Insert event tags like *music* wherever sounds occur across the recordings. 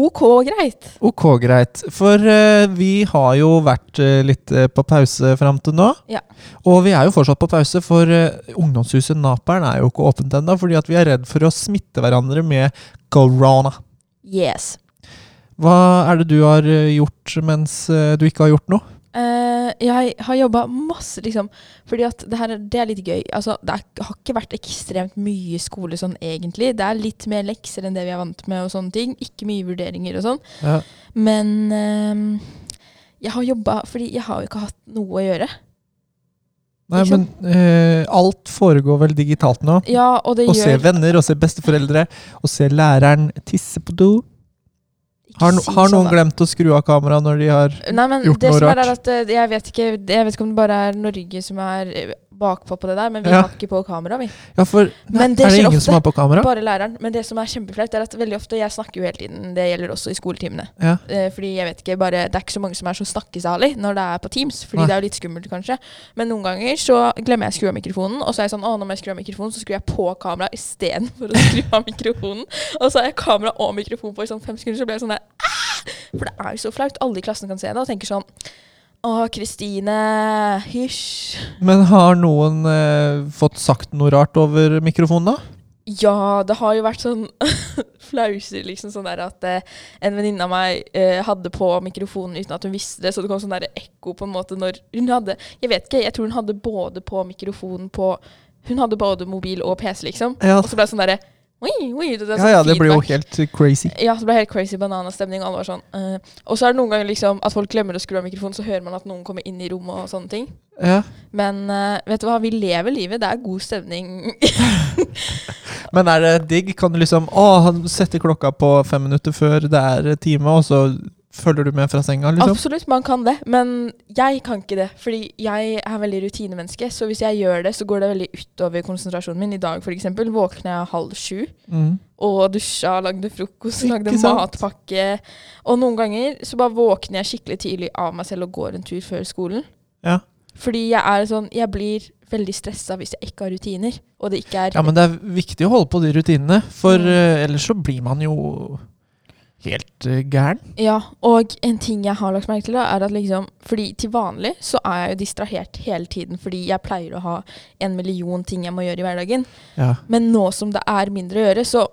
ok greit. Ok, greit. For eh, vi har jo vært eh, litt eh, på pause fram til nå. Ja. Og vi er jo fortsatt på pause, for eh, ungdomshuset Naperen er jo ikke åpent ennå, fordi at vi er redd for å smitte hverandre med corona. Yes. Hva er det du har eh, gjort mens eh, du ikke har gjort noe? Eh, jeg har jobba masse, liksom. Fordi at det her er- det er litt gøy. Altså, det er, har ikke vært ekstremt mye skole sånn egentlig. Det er litt mer lekser enn det vi er vant med og sånne ting. Ikke mye vurderinger og sånn. Ja. Men ehm, jeg har jobba fordi jeg har jo ikke hatt noe å gjøre. Nei, Ikke men eh, alt foregår vel digitalt nå? Ja, og det Å se gjør venner, å se besteforeldre, å se læreren tisse på do. Ikke Har, no, si har sånn, noen da. glemt å skru av kameraet når de har Nei, men gjort det noe som er, rart. er at eh, jeg vet, ikke, jeg vet ikke om det bare er Norge som er eh, bakpå på det der, men vi Ja. har ikke på kamera, vi. Ja, for nei, Men det er det skjer ingen ofte. som har på kamera? Bare læreren. Men det som er kjempeflaut, er at veldig ofte Jeg snakker jo hele tiden. Det gjelder også i skoletimene. Ja. Eh, Fordi jeg vet ikke, bare, Det er ikke så mange som er så snakkesalig når det er på Teams. Fordi Nei. det er jo litt skummelt, kanskje. Men noen ganger så glemmer jeg å skru av mikrofonen. Og så er jeg sånn, å, nå må jeg skru av mikrofonen, så skrur jeg på kamera istedenfor å skru av mikrofonen. Og så har jeg kamera og mikrofon på i sånn fem sekunder, så blir jeg sånn der «Ah!» For det er jo så flaut. Alle i klassen kan se det og tenker sånn Å, Kristine. Hysj. Men har noen eh, fått sagt noe rart over mikrofonen, da? Ja, det har jo vært sånn *laughs* flauser, liksom. Sånn der at eh, en venninne av meg eh, hadde på mikrofonen uten at hun visste det, så det kom sånn der ekko på en måte når hun hadde Jeg vet ikke, jeg tror hun hadde både på mikrofonen på Hun hadde både mobil og PC, liksom. Ja. Og så ble det sånn derre oi, oi, det, det, er Ja, sånn ja, det blir jo feedback. helt crazy. Ja, så det ble helt crazy bananastemning. og Alle var sånn, eh. Og så er det noen ganger liksom at folk glemmer å skru av mikrofonen, så hører man at noen kommer inn i rommet og sånne ting. Ja. Men eh, vet du hva, vi lever livet. Det er god stemning Men er det digg? Kan du liksom Å, han setter klokka på fem minutter før det er time, og så følger du med fra senga, liksom? Absolutt, man kan det. Men jeg kan ikke det. Fordi jeg er veldig rutinemenneske. Så hvis jeg gjør det, så går det veldig utover konsentrasjonen min. I dag f.eks. våkna jeg halv sju Mm. og dusja, lagde frokost, Ikke lagde sant? matpakke. Og noen ganger så bare våkner jeg skikkelig tidlig av meg selv og går en tur før skolen. Ja. Fordi jeg er sånn Jeg blir veldig stressa hvis jeg ikke har rutiner. Og det ikke er ja, men det er viktig å holde på de rutinene, for Mm. eh, ellers så blir man jo helt eh, gæren. Ja, og en ting jeg har lagt merke til, da, er at liksom Fordi til vanlig så er jeg jo distrahert hele tiden fordi jeg pleier å ha en million ting jeg må gjøre i hverdagen. Ja. Men nå som det er mindre å gjøre, så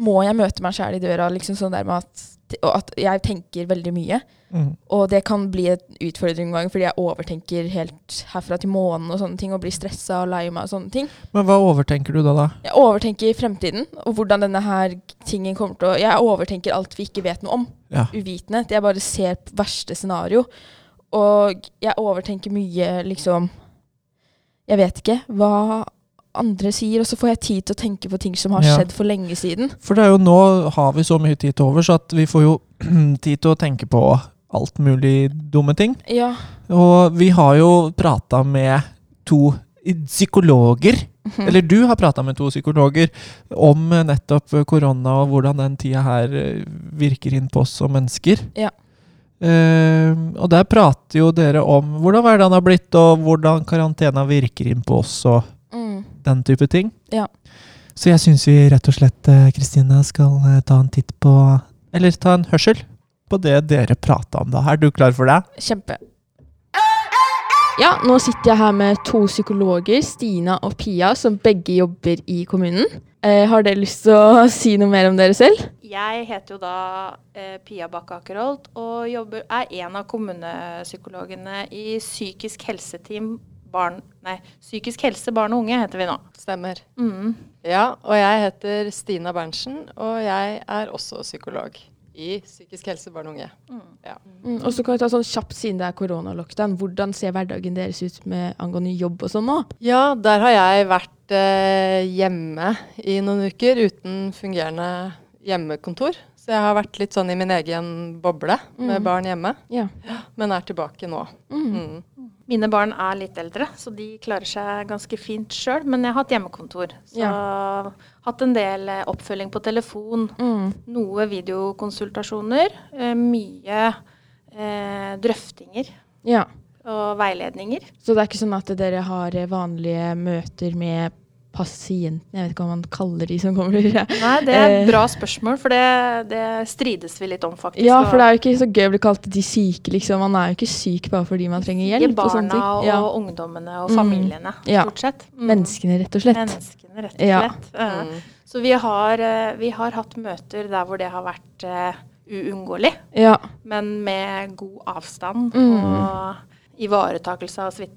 må jeg møte meg sjæl i døra liksom sånn der med at, og at jeg tenker veldig mye. Mm. Og det kan bli en utfordring noen ganger fordi jeg overtenker helt herfra til månen og sånne ting og blir stressa og lei meg og sånne ting. Men hva overtenker du da, da? Jeg overtenker fremtiden og hvordan denne her tingen kommer til å Jeg overtenker alt vi ikke vet noe om. Ja. Uvitenhet. Jeg bare ser på verste scenario. Og jeg overtenker mye, liksom Jeg vet ikke hva andre sier, og så får jeg tid til å tenke på ting som har Ja. skjedd for lenge siden. For det er jo nå har vi så mye tid til overs at vi får jo *clears throat* tid til å tenke på alt mulig dumme ting. Ja. Og vi har jo prata med to psykologer. Eller du har prata med to psykologer om eh, nettopp eh, korona og hvordan den tida her eh, virker inn på oss som mennesker. Ja. Eh, og der prater jo dere om hvordan hverdagen har blitt, og hvordan karantena virker inn på oss og Mm. den type ting. Ja. Så jeg syns vi rett og slett, eh, Kristina, skal eh, ta en titt på Eller ta en hørsel på det dere prata om da. Er du klar for det? Kjempe. Ja, nå sitter jeg her med to psykologer, Stina og Pia, som begge jobber i kommunen. Eh, har dere lyst til å *laughs* si noe mer om dere selv? Jeg heter jo da eh, Pia Bakke Akerholt og jobber, er en av kommunepsykologene i psykisk helseteam barn, nei, psykisk helse barn og unge heter vi nå. Stemmer. Mm. Ja, og jeg heter Stina Berntsen, og jeg er også psykolog i psykisk helse barn og unge. Mm, og så kan vi ta sånn kjapt siden det er koronalockdown. Hvordan ser hverdagen deres ut med angående jobb og sånn nå? Ja, der har jeg vært eh, hjemme i noen uker uten fungerende hjemmekontor. Så jeg har vært litt sånn i min egen boble med Mm. barn hjemme, Ja. men er tilbake nå. Mm. Mm. Mine barn er litt eldre, så de klarer seg ganske fint sjøl. Men jeg har hatt hjemmekontor. Så hatt en del eh, oppfølging på telefon. Mm. Noe videokonsultasjoner. eh, Mye eh, drøftinger ja. og veiledninger. Så det er ikke sånn at dere har eh, vanlige møter med pasientene, jeg vet ikke hva man kaller de som kommer? Nei, det er Eh. et bra spørsmål, for det, det strides vi litt om, faktisk. Ja, for det er jo ikke så gøy å bli kalt de syke, liksom. Man er jo ikke syk bare fordi man trenger hjelp. og sånne barna ting. og, Ja. ungdommene og Mm. familiene, Ja. stort sett. Mm. Menneskene, rett og slett. Menneskene, rett og Ja. slett. Ja. Så vi har, eh, vi har hatt møter der hvor det har vært eh, uunngåelig, Ja. men med god avstand Mm. og ivaretakelse av smitt-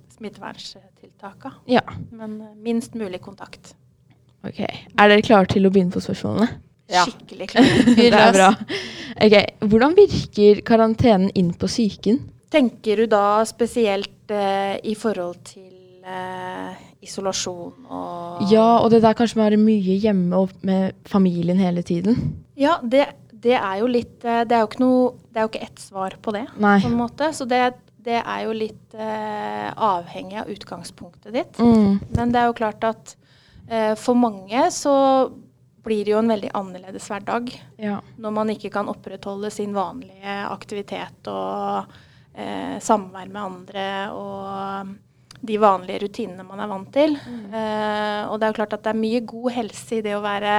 smitteverntiltaka. ja. Men eh, minst mulig kontakt. Ok. Er dere klare til å begynne på spørsmålene? Ja. Skikkelig klart. *laughs* Det er bra. Ok, Hvordan virker karantenen inn på psyken? Tenker du da spesielt eh, i forhold til eh, isolasjon og Ja, og det der kanskje med å være mye hjemme og med familien hele tiden. Ja, det, det er jo litt eh, Det er jo ikke noe Det er jo ikke ett svar på det, Nei. på en måte. Så det, det er jo litt eh, avhengig av utgangspunktet ditt. Mm. Men det er jo klart at eh, for mange så blir det jo en veldig annerledes hverdag Ja. når man ikke kan opprettholde sin vanlige aktivitet og eh, samvær med andre og de vanlige rutinene man er vant til. Eh, og det er jo klart at det er mye god helse i det å være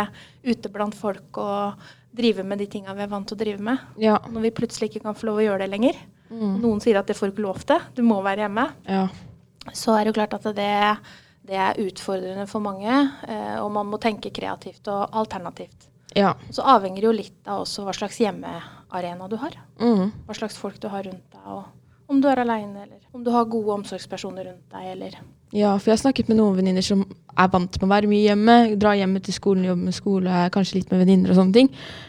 ute blant folk og drive med de tinga vi er vant til å drive med. Ja. Når vi plutselig ikke kan få lov å gjøre det lenger. Mm. Noen sier at det får du ikke lov til, du må være hjemme ja. så er det jo klart at det, det er utfordrende for mange. eh, Og man må tenke kreativt og alternativt. Ja. Så avhenger det jo litt av også hva slags hjemmearena du har. Mm. Hva slags folk du har rundt deg. og om du er aleine, eller om du har gode omsorgspersoner rundt deg. eller... Ja, for jeg har snakket med noen venninner som er vant til å være mye hjemme. Dra hjemme til skolen, jobbe med skole, kanskje litt med venninner og sånne ting.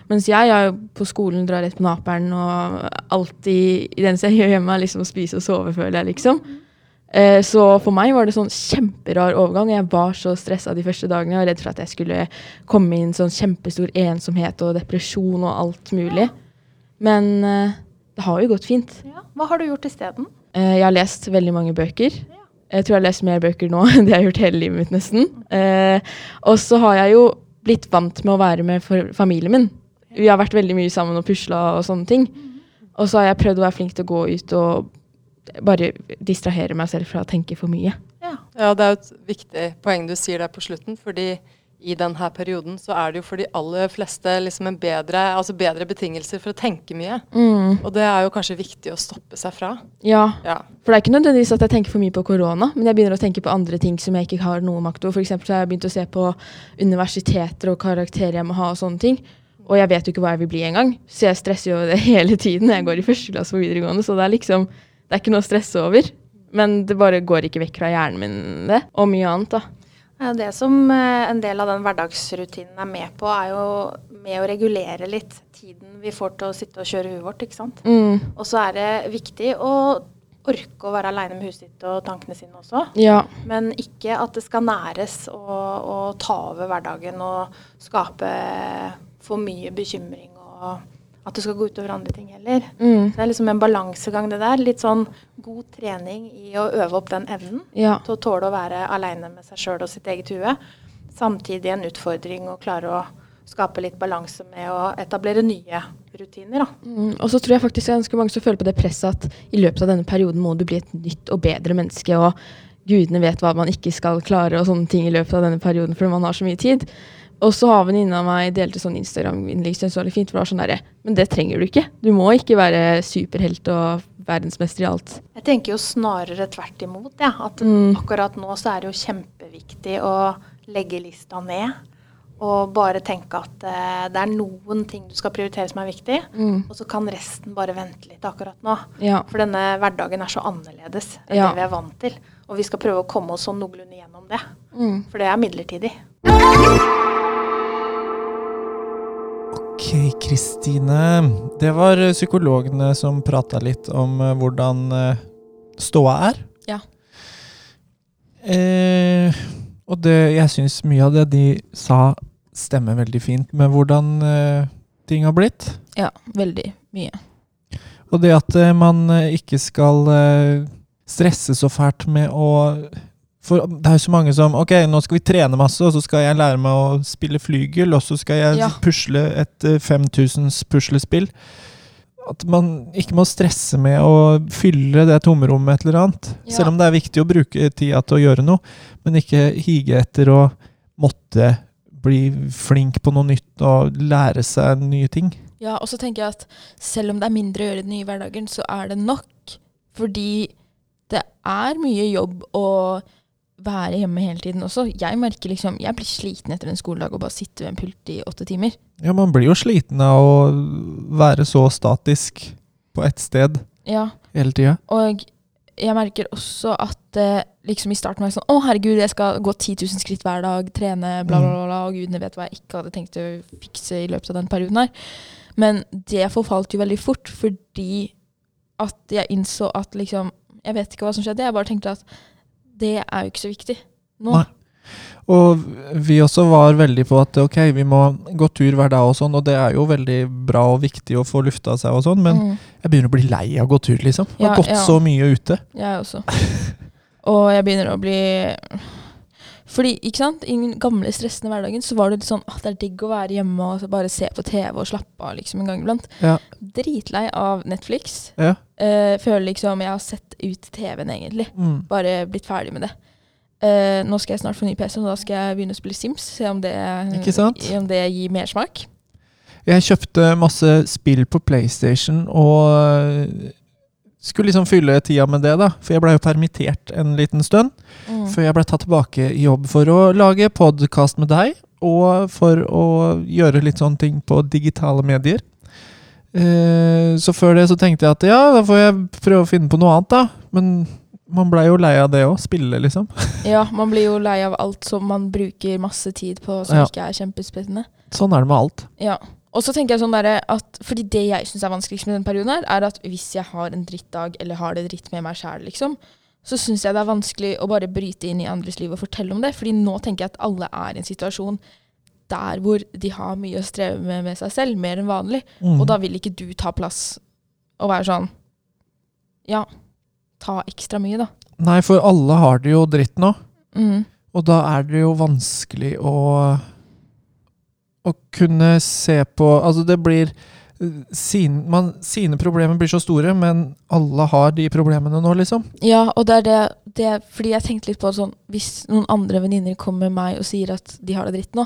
Mens jeg er jo på skolen, drar rett på naperen og alltid i den jeg gjør hjemme, er liksom å spise og sove, føler jeg, liksom. Eh, Så for meg var det sånn kjemperar overgang. Jeg var så stressa de første dagene og redd for at jeg skulle komme inn sånn kjempestor ensomhet og depresjon og alt mulig. Men eh, det har jo gått fint. Ja. Hva har du gjort isteden? Eh, Jeg har lest veldig mange bøker. Jeg tror jeg har lest mer bøker nå *laughs* enn det jeg har gjort hele livet mitt, nesten. Eh, og så har jeg jo blitt vant med å være med for familien min. Vi har vært veldig mye sammen og pusla og sånne ting. Og så har jeg prøvd å være flink til å gå ut og bare distrahere meg selv fra å tenke for mye. Ja. Ja, det er jo et viktig poeng du sier der på slutten, fordi i denne perioden så er det jo for de aller fleste liksom en bedre, altså bedre betingelser for å tenke mye. Og det er jo kanskje viktig å stoppe seg fra. Ja, Ja. For det er ikke nødvendigvis at jeg tenker for mye på korona, men jeg begynner å tenke på andre ting som jeg ikke har noe makt over. For eksempel så har jeg begynt å se på universiteter og karakterer jeg må ha og sånne ting. Og jeg vet jo ikke hva jeg vil bli engang, så jeg stresser jo over det *laughs* hele tiden. Jeg går i første klasse på videregående, så det er liksom Det er ikke noe å stresse over. Men det bare går ikke vekk fra hjernen min, det. Og mye annet, da. Ja, Det som eh, en del av den hverdagsrutinen er med på, er jo med å regulere litt tiden vi får til å sitte og kjøre huet vårt. ikke sant? Mm. Og så er det viktig å orke å være aleine med huset ditt og tankene sine også. Ja. Men ikke at det skal næres og, og ta over hverdagen og skape for mye bekymring. og At det skal gå utover andre ting heller. Mm. Så Det er liksom en balansegang, det der. Litt sånn god trening i å øve opp den evnen Ja. til å tåle å være aleine med seg sjøl og sitt eget hue. Samtidig en utfordring å klare å skape litt balanse med å etablere nye rutiner. da. Mm, og så tror jeg faktisk det er ganske mange som føler på det presset at i løpet av denne perioden må du bli et nytt og bedre menneske, og gudene vet hva man ikke skal klare og sånne ting i løpet av denne perioden fordi man har så mye tid. Og så har venninna mi delte sånn Instagram-innlegg som jeg så var litt fint, for det var sånn derre Men det trenger du ikke. Du må ikke være superhelt og verdensmester i alt. Jeg tenker jo snarere tvert imot, jeg. At Mm. akkurat nå så er det jo kjempeviktig å legge lista ned. Og bare tenke at eh, det er noen ting du skal prioritere som er viktig. Mm. Og så kan resten bare vente litt akkurat nå. Ja. For denne hverdagen er så annerledes enn Ja. det vi er vant til. Og vi skal prøve å komme oss sånn noenlunde gjennom det. Mm. For det er midlertidig. Ok, Kristine. Det var eh, psykologene som prata litt om eh, hvordan eh, ståa er. Ja. Eh, og det, jeg syns mye av det de sa, stemmer veldig fint med hvordan eh, ting har blitt. Ja, veldig mye. Og det at eh, man eh, ikke skal eh, stresse så fælt med å For det er jo så mange som Ok, nå skal vi trene masse, og så skal jeg lære meg å spille flygel, og så skal jeg Ja. pusle et eh, 5000s puslespill. At man ikke må stresse med å fylle det tomrommet med et eller annet. Ja. Selv om det er viktig å bruke tida til å gjøre noe, men ikke hige etter å måtte bli flink på noe nytt og lære seg nye ting. Ja, og så tenker jeg at selv om det er mindre å gjøre i den nye hverdagen, så er det nok. Fordi det er mye jobb å være hjemme hele tiden også. Jeg merker liksom, jeg blir sliten etter en skoledag og bare sitte ved en pult i åtte timer. Ja, man blir jo sliten av å være så statisk på ett sted Ja, hele tida. Og jeg merker også at eh, liksom i starten var jeg sånn Å, herregud, jeg skal gå 10 000 skritt hver dag, trene, bla, bla, bla, bla. Og gudene vet hva jeg ikke hadde tenkt å fikse i løpet av den perioden her. Men det forfalt jo veldig fort, fordi at jeg innså at liksom Jeg vet ikke hva som skjedde, jeg bare tenkte at det er jo ikke så viktig nå. Nei. Og vi også var veldig på at ok, vi må gå tur hver dag og sånn, og det er jo veldig bra og viktig å få lufta seg og sånn, men Mm. jeg begynner å bli lei av å gå tur, liksom. Jeg Ja, har gått ja. så mye ute. Jeg også. Og jeg begynner å bli Fordi, ikke sant, i den gamle stressende hverdagen så var det litt sånn at det er digg å være hjemme og så bare se på TV og slappe av liksom en gang iblant. Ja. Dritlei av Netflix. Ja. Eh, føler liksom jeg har sett ut TV-en, egentlig. Mm. Bare blitt ferdig med det. Eh, nå skal jeg snart få ny PC, og da skal jeg begynne å spille Sims. Se om det, Ikke sant? om det gir *laughs* mersmak. Jeg kjøpte masse spill på PlayStation og øh, skulle liksom fylle tida med det, da. For jeg blei jo permittert en liten stund. Mm. Før jeg ble tatt tilbake i jobb for å lage podkast med deg, og for å gjøre litt sånne ting på digitale medier. Eh, Så før det så tenkte jeg at ja, da får jeg prøve å finne på noe annet, da. Men man blei jo lei av det òg. Spille, liksom. Ja, man blir jo lei av alt som man bruker masse tid på som Ja. ikke er kjempespennende. Sånn er det med alt. Ja. Og så tenker jeg sånn derre at Fordi det jeg syns er vanskeligst med den perioden her, er at hvis jeg har en drittdag, eller har det dritt med meg sjæl, liksom, så syns jeg det er vanskelig å bare bryte inn i andres liv og fortelle om det. Fordi nå tenker jeg at alle er i en situasjon der hvor de har mye å streve med med seg selv, mer enn vanlig. Mm. Og da vil ikke du ta plass og være sånn Ja, ta ekstra mye, da. Nei, for alle har det jo dritt nå. Mm. Og da er det jo vanskelig å å kunne se på Altså, det blir eh, sin, man, Sine problemer blir så store, men alle har de problemene nå, liksom. Ja, og det er det, det er- Fordi jeg tenkte litt på det sånn Hvis noen andre venninner kommer med meg og sier at de har det dritt nå,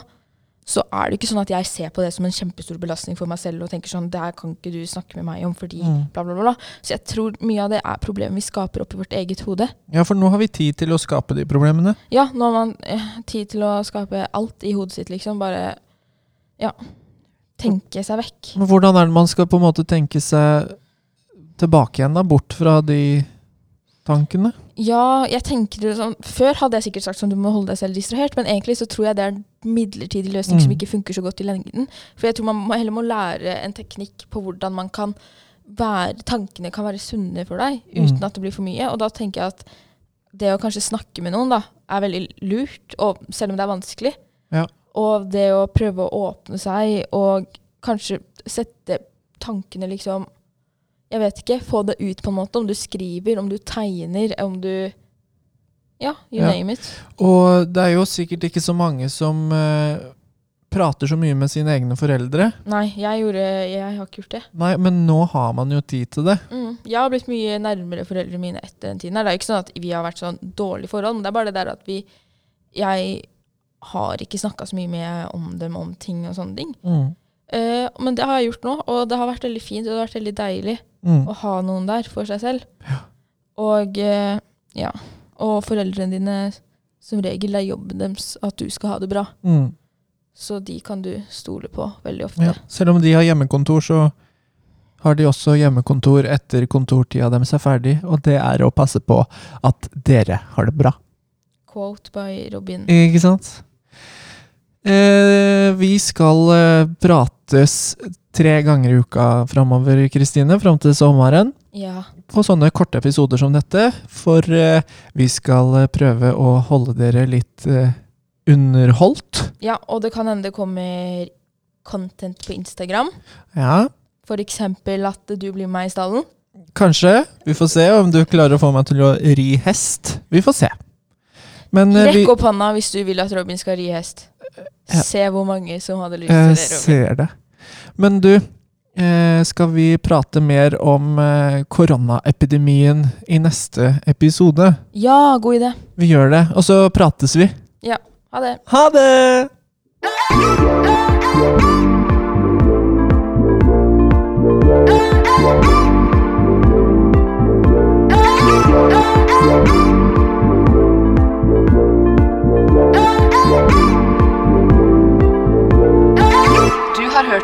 så er det jo ikke sånn at jeg ser på det som en kjempestor belastning for meg selv og tenker sånn Det her kan ikke du snakke med meg om fordi Mm. bla, bla, bla. bla." Så jeg tror mye av det er problemer vi skaper oppi vårt eget hode. Ja, for nå har vi tid til å skape de problemene. Ja, nå har man eh, tid til å skape alt i hodet sitt, liksom. Bare ja. Tenke seg vekk. Men hvordan er det man skal på en måte tenke seg tilbake igjen, da? Bort fra de tankene? Ja, jeg tenker det sånn Før hadde jeg sikkert sagt sånn du må holde deg selv distrahert, men egentlig så tror jeg det er en midlertidig løsning som Mm. ikke funker så godt i lengden. For jeg tror man må, heller må lære en teknikk på hvordan man kan være Tankene kan være sunne for deg uten Mm. at det blir for mye. Og da tenker jeg at det å kanskje snakke med noen da, er veldig lurt, og selv om det er vanskelig. Ja. Og det å prøve å åpne seg og kanskje sette tankene liksom jeg vet ikke, få det ut på en måte. Om du skriver, om du tegner, om du Ja, you Ja. name it. Og det er jo sikkert ikke så mange som eh, prater så mye med sine egne foreldre. Nei, jeg gjorde Jeg har ikke gjort det. Nei, men nå har man jo tid til det. Mm. Jeg har blitt mye nærmere foreldrene mine etter den tiden. her. Det er jo ikke sånn at vi har vært sånn dårlige forhold, men det er bare det der at vi Jeg har ikke snakka så mye med om dem om ting og sånne ting. Mm. Eh, men det har jeg gjort nå, og det har vært veldig fint og det har vært veldig deilig Mm. å ha noen der for seg selv. Og, eh, ja. og foreldrene dine som regel er jobben deres at du skal ha det bra. Mm. Så de kan du stole på veldig ofte. Ja. Selv om de har hjemmekontor, så har de også hjemmekontor etter kontortida deres er ferdig, og det er å passe på at dere har det bra. Quote by Robin. Ikke sant? Eh, vi skal eh, prates tre ganger i uka framover, Kristine, fram til sommeren. Ja. På sånne korte episoder som dette. For eh, vi skal eh, prøve å holde dere litt eh, underholdt. ja, og det kan hende det kommer content på Instagram. Ja, F.eks. at du blir med meg i stallen. kanskje. Vi får se om du klarer å få meg til å ri hest. Vi får se. Men eh, vi Rekk opp hånda hvis du vil at Robin skal ri hest. Ja. Se hvor mange som hadde lyst til Jeg det. Robin. eh, ser det. Men du, eh, skal vi prate mer om eh, koronaepidemien i neste episode? Ja, god idé. Vi gjør det, og så prates vi. Ja, ha det. Ha det! Du har hørt